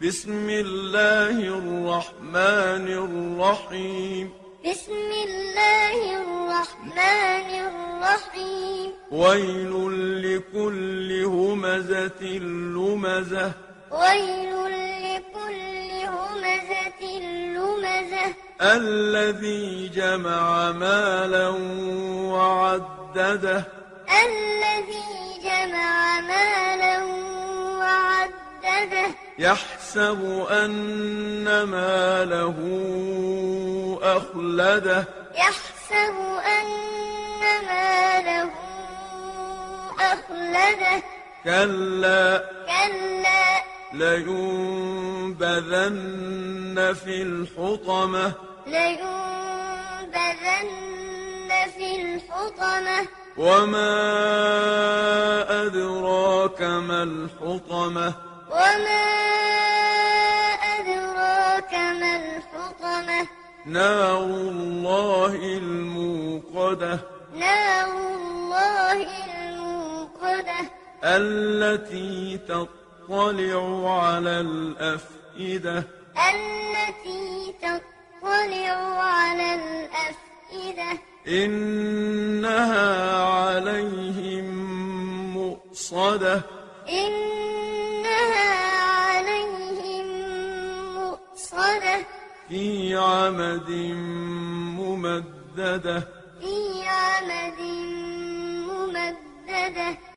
بسم الله الرحمن الرحيم بسم الله الرحمن الرحيم ويل لكل همزة لمزة ويل لكل همزة لمزة الذي جمع مالا وعدده الذي جمع مالا وعدده يحسب أن ماله أخلده يحسب أن ماله أخلده كلا كلا لينبذن في الحطمة لينبذن في الحطمة وما أدراك ما الحطمة وما أدراك ما الحطمة نار الله الموقدة نار الله الموقدة التي تطلع على الأفئدة التي تطلع على الأفئدة إنها عليهم مؤصدة إنها عليهم مؤصدة في عمد ممددة في عمد ممددة